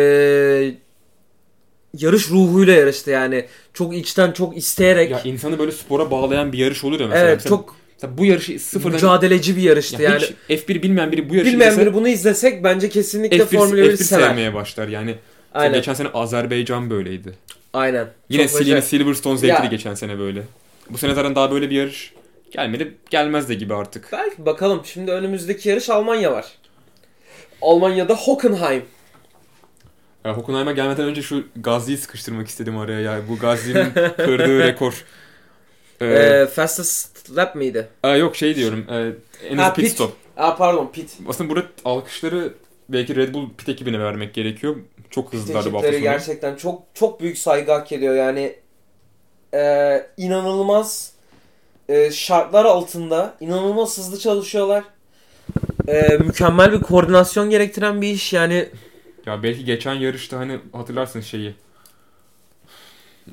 yarış ruhuyla yarıştı yani. Çok içten, çok isteyerek. ya insanı böyle spora bağlayan bir yarış olur ya mesela. evet, Mesela- çok mesela bu yarışı sıfırdan mücadeleci bir yarıştı Ya yani. hiç F1 bilmeyen biri bu yarışı Bilmeyen izlese biri bunu izlesek bence kesinlikle F1, Formula 1'i F1 sever. sevmeye başlar yani. Mesela Aynen. Geçen sene Azerbaycan böyleydi. Aynen. Yine Çok Sil- acayip. Silverstone zevkli Ya. geçen sene böyle. Bu sene zaten daha böyle bir yarış gelmedi gelmez de gibi artık. Belki bakalım. Şimdi önümüzdeki yarış Almanya var. Almanya'da Hockenheim. Ya, Hockenheim'a gelmeden önce şu Gazi'yi sıkıştırmak istedim araya ya. Bu Gazi'nin kırdığı rekor. Ee, Ee, fastest lap mıydı? aa, yok şey diyorum. e, en Ha, az pit pit. stop. Aa pardon pit. Aslında burada alkışları belki Red Bull pit ekibine vermek gerekiyor. Çok hızlılardı bu hafta Ekipleri sonu. gerçekten çok çok büyük saygı hak ediyor yani. Ee, inanılmaz e, şartlar altında inanılmaz hızlı çalışıyorlar. Ee, mükemmel bir koordinasyon gerektiren bir iş yani. Ya belki geçen yarışta hani hatırlarsın şeyi.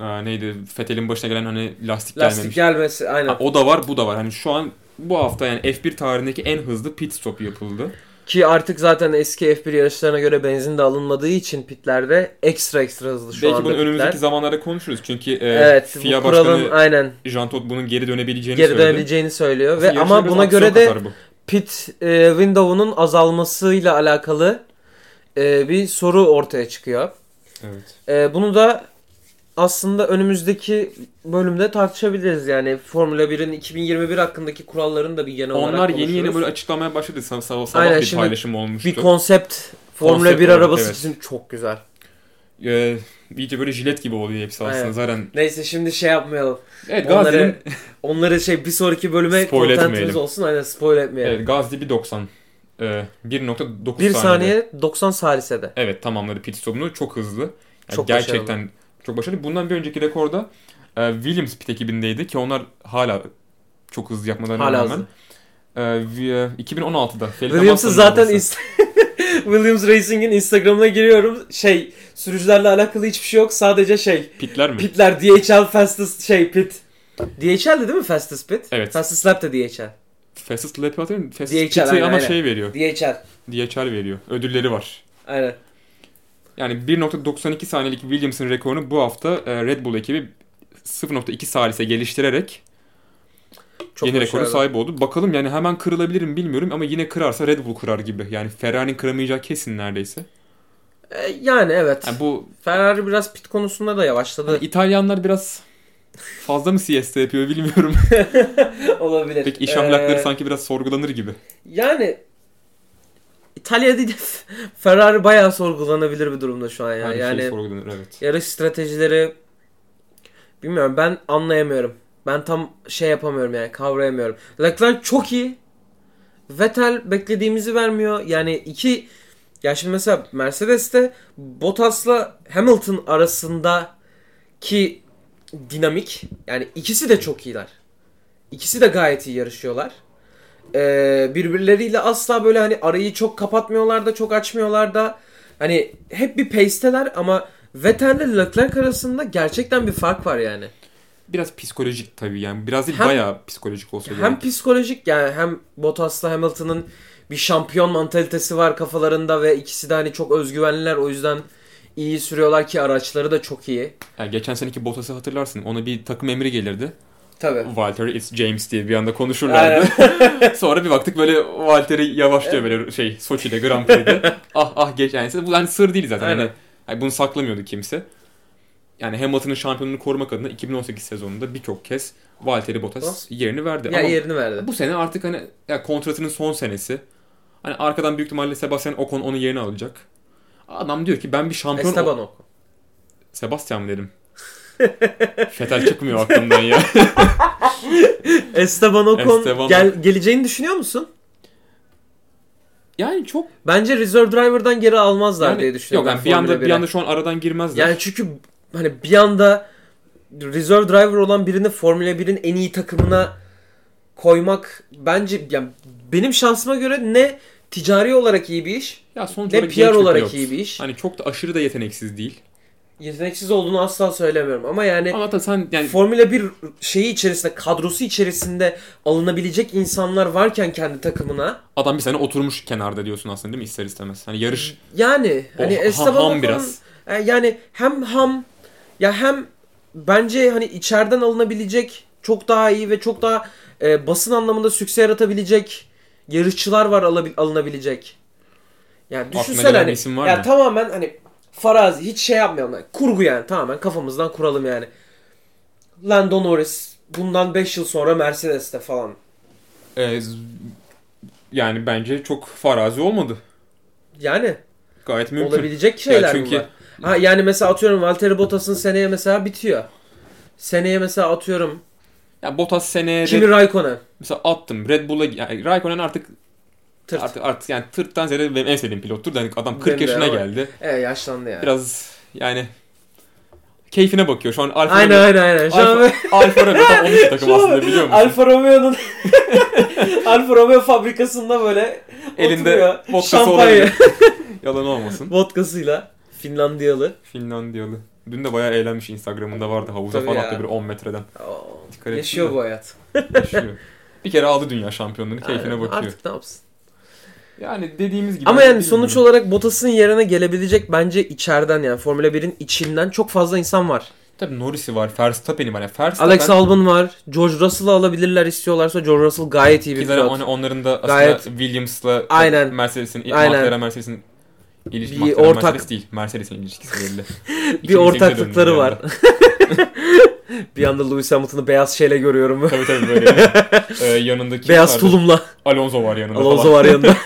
e, neydi Fethel'in başına gelen hani lastik, Lastik gelmemiş. gelmesi aynen. Ha, o da var bu da var. Hani şu an bu hafta yani F1 tarihindeki en hızlı pit stop yapıldı. Ki artık zaten eski F1 yarışlarına göre benzin de alınmadığı için pitlerde ekstra ekstra hızlı şu Belki anda bunu pitler. önümüzdeki zamanlarda konuşuruz. Çünkü e, Evet bu FIA kuralın Başkanı aynen Jean Todt bunun geri dönebileceğini geri söyledi. dönebileceğini söylüyor. Aslında Ve ama yarışa biraz buna aksiyon göre de katar bu. pit e, window'unun azalmasıyla alakalı e, bir soru ortaya çıkıyor. Evet. E, bunu da aslında önümüzdeki bölümde tartışabiliriz. Yani Formula 1'in 2021 hakkındaki kuralların da bir genel olarak Onlar yeni konuşuruz. yeni böyle açıklamaya başladı. Sab- sab- sabah Aynen, bir şimdi paylaşım olmuştu. bir konsept Formula Konsept 1 olarak, arabası evet. için çok güzel. Ee, iyice böyle jilet gibi oluyor hepsi aslında Aynen. zaten. Neyse şimdi şey yapmayalım. Evet Gazli'nin Onları, onları şey bir sonraki bölüme Spoil kontentimiz etmeyelim. olsun. Aynen spoil etmeyelim. evet, Gazli 1.90 ee, 1.9 1 saniyede. saniye 90 salisede. Evet tamamladı pit stopunu çok hızlı. Yani Çok gerçekten çok başarılı. Bundan bir önceki rekorda e, Williams pit ekibindeydi ki onlar hala çok hızlı yapmalarına Hala rağmen. hızlı. E, vi- e, 2016'da Felipe Williams'ı Massa'nın zaten arabası. inst- Williams Racing'in Instagram'ına giriyorum. Şey sürücülerle alakalı hiçbir şey yok. Sadece şey pitler mi? pitler DHL fastest şey pit. DHL'di değil mi fastest pit? Evet. Fastest lap da DHL. Fastest lap atıyor. Fastest DHL, pit'i aynen, ama aynen. şey veriyor. DHL. DHL veriyor. Ödülleri var. Aynen. Yani 1.92 saniyelik Williams'ın rekorunu bu hafta e, Red Bull ekibi 0.2 salise geliştirerek Çok yeni rekora başarılı. sahip oldu. Bakalım yani hemen kırılabilir mi bilmiyorum ama yine kırarsa Red Bull kırar gibi. Yani Ferrari'nin kıramayacağı kesin neredeyse. E, yani evet. Yani bu Ferrari biraz pit konusunda da yavaşladı. İtalyanlar biraz fazla mı siesta yapıyor bilmiyorum. Olabilir. Peki iş ahlakları Ee, sanki biraz sorgulanır gibi. Yani İtalya değil de Ferrari bayağı sorgulanabilir bir durumda şu an ya. Her yani şey sorgulanır evet. yarış stratejileri bilmiyorum ben anlayamıyorum. Ben tam şey yapamıyorum yani kavrayamıyorum. Leclerc çok iyi. Vettel beklediğimizi vermiyor. Yani iki ya şimdi mesela Mercedes'te Bottas'la Hamilton arasındaki dinamik yani ikisi de çok iyiler. İkisi de gayet iyi yarışıyorlar. Ee, birbirleriyle asla böyle hani arayı çok kapatmıyorlar da çok açmıyorlar da hani hep bir pace'teler ama Vettel ile Leclerc arasında gerçekten bir fark var yani. Biraz psikolojik tabii yani. Biraz değil Hem- bayağı psikolojik olsa gerek. Hem psikolojik yani hem Bottas'la Hamilton'ın bir şampiyon mantalitesi var kafalarında ve ikisi de hani çok özgüvenliler o yüzden iyi sürüyorlar ki araçları da çok iyi. Yani geçen seneki Bottas'ı hatırlarsın. Ona bir takım emri gelirdi. Tabii. Walter it's James diye bir anda konuşurlardı. Sonra bir baktık böyle Walter'i yavaşlıyor böyle şey Soçi'de Grand Prix'de. ah ah geç yani. Bu hani sır değil zaten. Aynen. Hani, hani bunu saklamıyordu kimse. Yani Hamilton'ın şampiyonluğunu korumak adına 2018 sezonunda birçok kez Valtteri Bottas Bottas. yerini verdi. Oh. Ya Ama yerini verdi. bu sene artık hani ya kontratının son senesi. Hani arkadan büyük ihtimalle Sebastian Ocon onun yerini alacak. Adam diyor ki ben bir şampiyon... Esteban Ocon. Sebastian mı dedim? Fetel çıkmıyor aklımdan ya. Esteban Ocon Esteban- gel- geleceğini düşünüyor musun? Yani çok Bence Reserve Driver'dan geri almazlar yani, diye Yok düşünüyorum. yani ben bir anda Formula bir 1'e. anda şu an aradan girmezler. Yani çünkü hani bir anda Reserve Driver olan birini Formula 1'in en iyi takımına koymak bence yani benim şansıma göre ne ticari olarak iyi bir iş ya sonuç ne olarak PR genç bir olarak pilot. iyi bir iş. Hani çok da aşırı da yeteneksiz değil. Yeteneksiz olduğunu asla söylemiyorum ama yani Ama da sen yani Formula 1 şeyi içerisinde, kadrosu içerisinde alınabilecek insanlar varken kendi takımına adam bir sene oturmuş kenarda diyorsun aslında değil mi ister istemez. Hani yarış Yani hani Oh, ha- Esteban ham Ocon'un- biraz. e, yani hem ham ya hem bence hani içeriden alınabilecek çok daha iyi ve çok daha e, basın anlamında sükse yaratabilecek yarışçılar var alabil- alınabilecek. Yani Aklına düşünsene gelen hani bir isim var ya mı? tamamen hani farazi hiç şey yapmayalım. yani kurgu yani tamamen kafamızdan kuralım yani. Lando Norris bundan 5 yıl sonra Mercedes'te falan. e, z- yani bence çok farazi olmadı. Yani Gayet mümkün. olabilecek Ya şeyler çünkü- bunlar. Ha, yani mesela atıyorum Valtteri Bottas'ın seneye mesela bitiyor. Seneye mesela atıyorum Ya Bottas seneye Kimi Red- Raikkonen. mesela attım Red Bull'a yani Raikkonen artık Tırt. artık artık yani tırttan ziyade benim en sevdiğim pilottur da hani adam 40 Benim de yaşına ama- geldi. Evet E, yaşlandı yani. Biraz yani keyfine bakıyor. Şu an Alfa Aynen Romeo- aynen aynen. Şu an Alfa, böyle- Alfa Romeo tam onun takım Şu an- aslında biliyor musun? Alfa Romeo'nun Alfa Romeo fabrikasında böyle Elinde oturuyor. vodkası Şampanya olabilir. Yalan olmasın. vodkasıyla. Finlandiyalı. Finlandiyalı. Dün de bayağı eğlenmiş Instagram'ında vardı havuza Tabii falan ya. attı bir 10 metreden. Oo, Dikkat ettin yaşıyor mi? bu hayat. Yaşıyor. bir kere aldı dünya şampiyonluğunu keyfine Aynen, bakıyor. Artık ne yapsın? Yani dediğimiz gibi. Ama yani dediğim sonuç gibi. olarak Bottas'ın yerine gelebilecek bence içeriden yani Formula 1'in içinden çok fazla insan var. Tabii Norris'i var, Verstappen'i var. Yani Verstappen Alex Albon var. George Russell'ı alabilirler istiyorlarsa George Russell gayet iyi bir ki zaten pilot. on- onların da aslında Gayet- Williams'la Aynen. Mercedes'in, Aynen. McLaren Mercedes'in ilişkisi. Bir McLaren ortak- Mercedes değil, Mercedes'in ilişkisi belli. Bir İkimizinki de ortaklıkları döndü var. bir anda. bir anda Lewis Hamilton'ı beyaz şeyle görüyorum. tabii tabii böyle. e, yanındaki beyaz vardı. tulumla. Alonso var yanında Alonso falan. var yanında.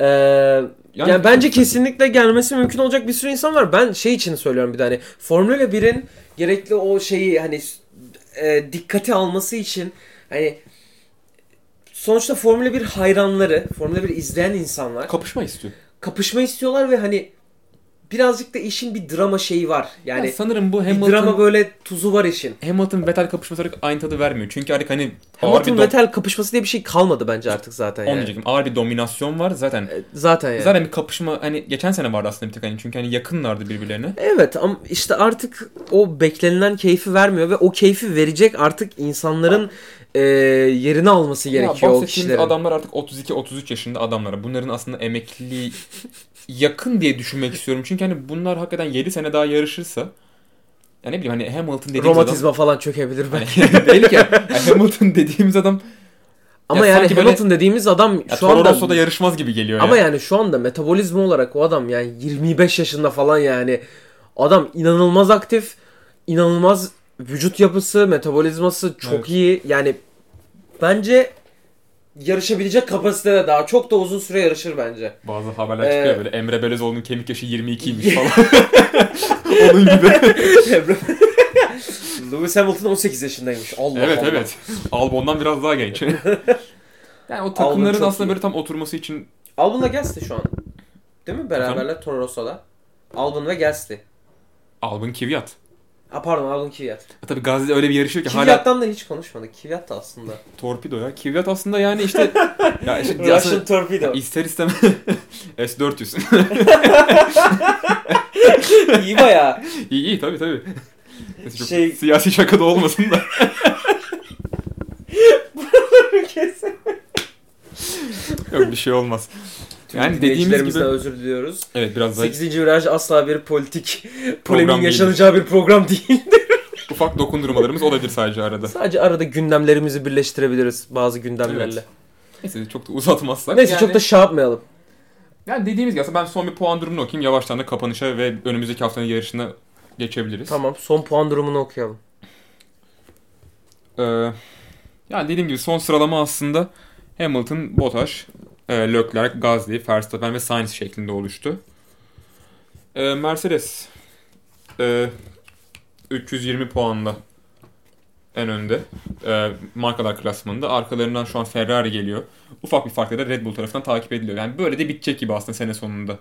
Eee Yani, yani bence kesinlikle gelmesi mümkün olacak bir sürü insan var. Ben şey için söylüyorum bir tane. Formula 1'in gerekli o şeyi hani e, dikkate alması için hani sonuçta Formula 1 hayranları, Formula 1 izleyen insanlar kapışma istiyor. kapışma istiyorlar ve hani birazcık da işin bir drama şeyi var. Yani, Yani sanırım bu bir Hamilton drama böyle tuzu var işin. Hamilton Vettel kapışması olarak aynı tadı vermiyor. Çünkü artık hani ağır bir, Hamilton do- Vettel kapışması diye bir şey kalmadı bence artık zaten. Onu Yani. diyecektim. Ağır bir dominasyon var zaten. Zaten yani. Zaten bir kapışma hani geçen sene vardı aslında bir tek hani çünkü hani yakınlardı birbirlerine. Evet ama işte artık o beklenilen keyfi vermiyor ve o keyfi verecek artık insanların e, yerini alması gerekiyor ya o bahsettiğimiz kişilerin. adamlar artık 32-33 yaşında adamlara. Bunların aslında emekli yakın diye düşünmek istiyorum. Çünkü hani bunlar hakikaten 7 sene daha yarışırsa yani ne bileyim hani Hamilton dediğimiz Romatizma falan çökebilir adam. belki. Hani değil ki. Yani Hamilton dediğimiz adam ama ya yani sanki böyle- Hamilton dediğimiz adam ya şu Toro anda Rosso'da yarışmaz gibi geliyor ama ya. yani şu anda metabolizma olarak o adam yani 25 yaşında falan yani adam inanılmaz aktif, inanılmaz vücut yapısı, metabolizması çok Evet. iyi. Yani bence yarışabilecek kapasitede daha çok da uzun süre yarışır bence. Bazı haberler çıkıyor Ee, böyle Emre Belezoğlu'nun kemik yaşı 22'ymiş falan. Onun gibi. Lewis Hamilton 18 yaşındaymış. Allah Evet Allah. evet. Albon'dan biraz daha genç. yani o Albon takımların çok aslında iyi. böyle tam oturması için Albon'la Gasly şu an. Değil mi? Beraberler Toro Rosso'da. Albon ve Gasly. Albon Kvyat. Ha pardon Albon Kvyat. E Tabii Gazze öyle bir yarışıyor ki hala Kvyat'tan da hiç konuşmadık. Kvyat da aslında. torpido ya. Kvyat aslında yani işte ya işte ya Russian aslında Torpedo. ister istemez S400. İyi baya. iyi iyi tabii tabii. Neyse, çok Şey- siyasi şaka da olmasın da. Yok bir şey olmaz. Yani yani dediğimiz dediğimiz gibi- özür diliyoruz. Evet biraz daha 8. viraj asla bir politik polemiğin değil. yaşanacağı bir program değil. ufak dokundurmalarımız olabilir sadece arada. Sadece arada gündemlerimizi birleştirebiliriz bazı gündemlerle. Evet. Neyse çok da uzatmazsak. Neyse yani, çok da şey yapmayalım. Yani dediğimiz gibi aslında ben son bir puan durumunu okuyayım. Yavaştan da kapanışa ve önümüzdeki haftanın yarışına geçebiliriz. Tamam son puan durumunu okuyalım. Ee, yani dediğim gibi son sıralama aslında Hamilton, Bottas, e, Leclerc, Gasly, Verstappen ve Sainz şeklinde oluştu. Ee, Mercedes e, 320 puanla en önde e, markalar klasmanında. Arkalarından şu an Ferrari geliyor. Ufak bir farkla da Red Bull tarafından takip ediliyor. Yani böyle de bitecek gibi aslında sene sonunda.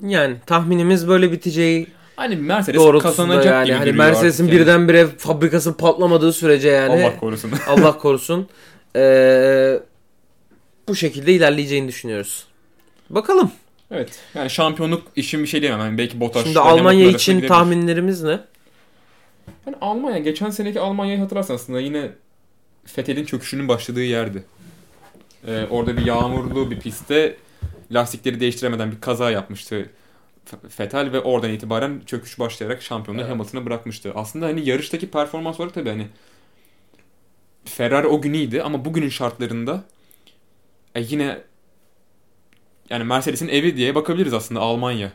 Yani tahminimiz böyle biteceği Hani Mercedes doğrultusunda kazanacak yani. gibi Hani duruyor Mercedes'in artık yani. birdenbire fabrikası patlamadığı sürece yani Allah korusun. Allah korusun eee, bu şekilde ilerleyeceğini düşünüyoruz. Bakalım. evet. Yani şampiyonluk işin bir şey diyemem. Yani belki Bottas Şimdi ve Hamilton Almanya arasında için gidebilir. tahminlerimiz ne? Hani Almanya, geçen seneki Almanya'yı hatırlarsan aslında yine Fethel'in çöküşünün başladığı yerdi. Ee, orada bir yağmurlu bir pistte lastikleri değiştiremeden bir kaza yapmıştı F- Fethel ve oradan itibaren çöküş başlayarak şampiyonluğu Evet. Hamilton'a bırakmıştı. Aslında hani yarıştaki performans olarak tabii hani Ferrari o gün iyiydi ama bugünün şartlarında e, yine yani Mercedes'in evi diye bakabiliriz aslında Almanya.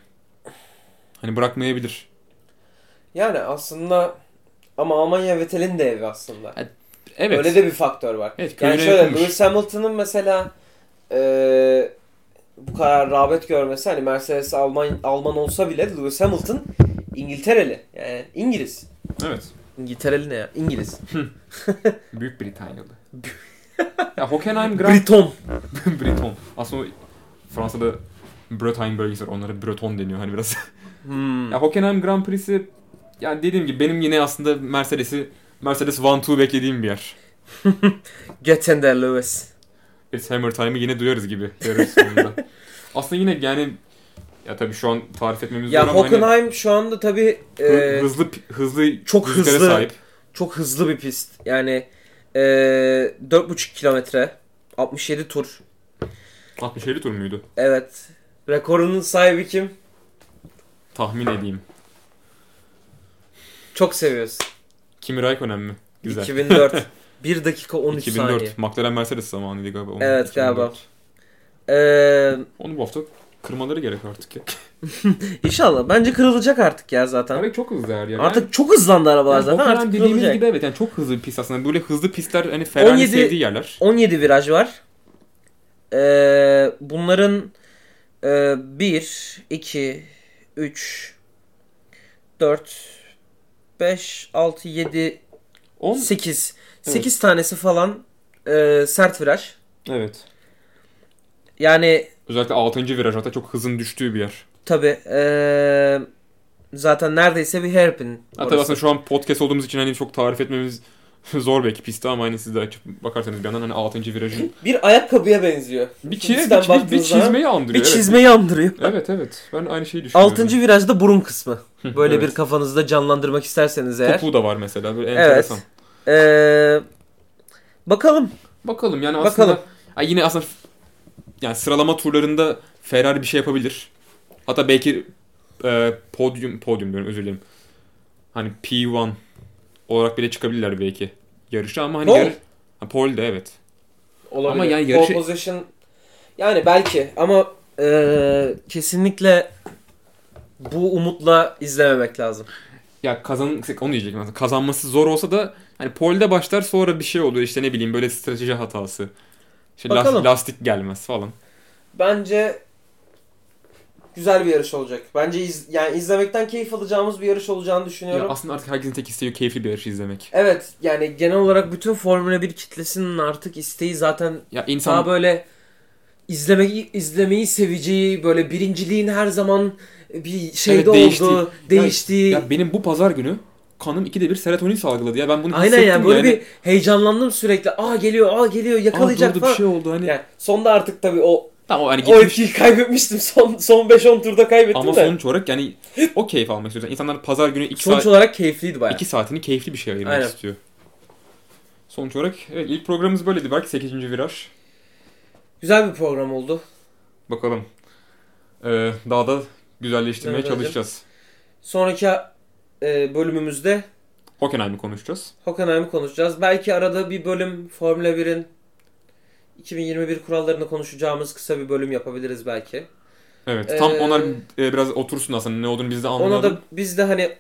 Hani bırakmayabilir. Yani aslında ama Almanya Vettel'in de evi aslında. Evet. Öyle de bir faktör var. Evet, yani köyüne şöyle yakınmış. Lewis Hamilton'ın mesela eee, bu kadar rağbet görmesi hani Mercedes Alman Alman olsa bile Lewis Hamilton İngiltereli. Yani İngiliz. Evet. İngiltereli ne ya? İngiliz. Büyük Britanyalı. ya Hockenheim Grand Briton. Breton. Aslında o Fransa'da Bretagne bölgesi var. Onlara Breton deniyor hani biraz. Hmm. ya Hockenheim Grand Prix'si yani dediğim gibi benim yine aslında Mercedes'i Mercedes One Two beklediğim bir yer. Get in there Lewis. It's Hammer Time'ı yine duyarız gibi. Duyarız sonunda. aslında yine yani Ya tabii şu an tarif etmemiz zor Ya ama hani Hockenheim şu anda tabii hı- e, hızlı hızlı çok yüzlere hızlı. sahip. çok hızlı bir pist. Yani e, 4,5 kilometre 67 tur. 60-50 tur muydu? Evet. Rekorunun sahibi kim? Tahmin edeyim. Çok seviyoruz. Kimi Raikkonen mi? Güzel. 2004. 1 dakika 13 2004. saniye. McLaren Mercedes zamanıydı galiba. Onun Evet, 2004. galiba. Ee, Onu bu hafta kırmaları gerek artık ya. inşallah. Bence kırılacak artık ya zaten. Tabii çok hızlı her yer. Artık çok hızlandı arabalar yani, zaten. Hockenheim Artık dediğimiz kırılacak. gibi evet yani çok hızlı bir pist aslında. Böyle hızlı pistler hani Ferrari'nin 17 sevdiği yerler. 17 viraj var. Ee, bunların e, 1, 2, 3, 4, 5, 6, 7, 10 8. 8 tanesi falan e, sert viraj. Evet. Yani Özellikle 6. viraj hatta çok hızın düştüğü bir yer. tabi zaten neredeyse bir hairpin. Hatta orası. aslında şu an podcast olduğumuz için hani çok tarif etmemiz zor belki pisti ama hani siz de açıp bakarsanız bir yandan hani 6. virajın Bir ayakkabıya benziyor. bir, çi- Bizden bir, bir, bir baktığınız zaman çizmeyi andırıyor. Bir evet. çizmeyi andırıyor. Evet evet. Ben aynı şeyi düşünüyorum. Altıncı virajda burun kısmı. Böyle evet. bir kafanızda canlandırmak isterseniz eğer. Topuğu da var mesela. Böyle enteresan. Ee, bakalım. Bakalım yani aslında Bakalım. Ay yine aslında yani sıralama turlarında Ferrari bir şey yapabilir. Hatta belki e, podyum podyum diyorum özür dilerim. Hani P1 olarak bile çıkabilirler belki yarışa ama hani Pole. yarı- ha, pole de evet. Olabilir. Ama yani yarışı- Pole position yani belki ama ee, kesinlikle bu umutla izlememek lazım. Ya kazan onu diyecektim aslında. Kazanması zor olsa da hani pole'de başlar sonra bir şey oluyor işte ne bileyim böyle strateji hatası. İşte las- Bakalım. lastik gelmez falan. Bence güzel bir yarış olacak. Bence iz- yani izlemekten keyif alacağımız bir yarış olacağını düşünüyorum. Ya aslında artık herkesin tek isteği keyifli bir yarışı izlemek. evet yani genel olarak bütün Formula 1 kitlesinin artık isteği zaten Ya daha insan böyle izlemeyi izlemeyi seveceği böyle birinciliğin her zaman bir şeyde Evet, değişti. olduğu değiştiği ya benim bu pazar günü kanım ikide bir serotonin salgıladı ya ben bunu aynen hissettim yani böyle yani. bir heyecanlandım sürekli aa geliyor aa geliyor yakalayacak Aa, doğru da falan. bir şey oldu hani. Yani sonda artık tabii o Tamam hani o gitmiş etkiyi kaybetmiştim son son 5-10 turda kaybettim ama de. sonuç olarak yani o keyif almak istiyor. İnsanlar pazar günü 2 Sonuç saat, olarak keyifliydi bayağı. iki saatini keyifli bir şey ayırmak Aynen. istiyor. Sonuç olarak evet, ilk programımız böyleydi. Belki 8. viraj. Güzel bir program oldu. Bakalım. Ee, daha da güzelleştirmeye Evet, hocam. çalışacağız. Sonraki e, bölümümüzde Hockenheim'i konuşacağız. Hockenheim'i konuşacağız. Belki arada bir bölüm Formula 1'in 2021 kurallarını konuşacağımız kısa bir bölüm yapabiliriz belki. Evet. Tam Ee, onlar e, biraz otursun aslında ne olduğunu biz de anlayalım. Ona da biz de hani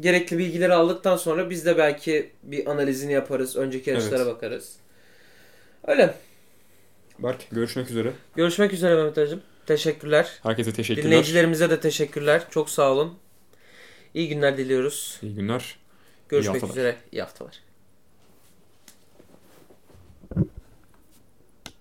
gerekli bilgileri aldıktan sonra biz de belki bir analizini yaparız. Önceki yarışlara Evet. bakarız. Öyle. Berk görüşmek üzere. Görüşmek üzere Mehmet Hacım. Teşekkürler. Herkese teşekkürler. Dinleyicilerimize de teşekkürler. Çok sağ olun. İyi günler diliyoruz. İyi günler. Görüşmek haftalar. üzere. İyi haftalar.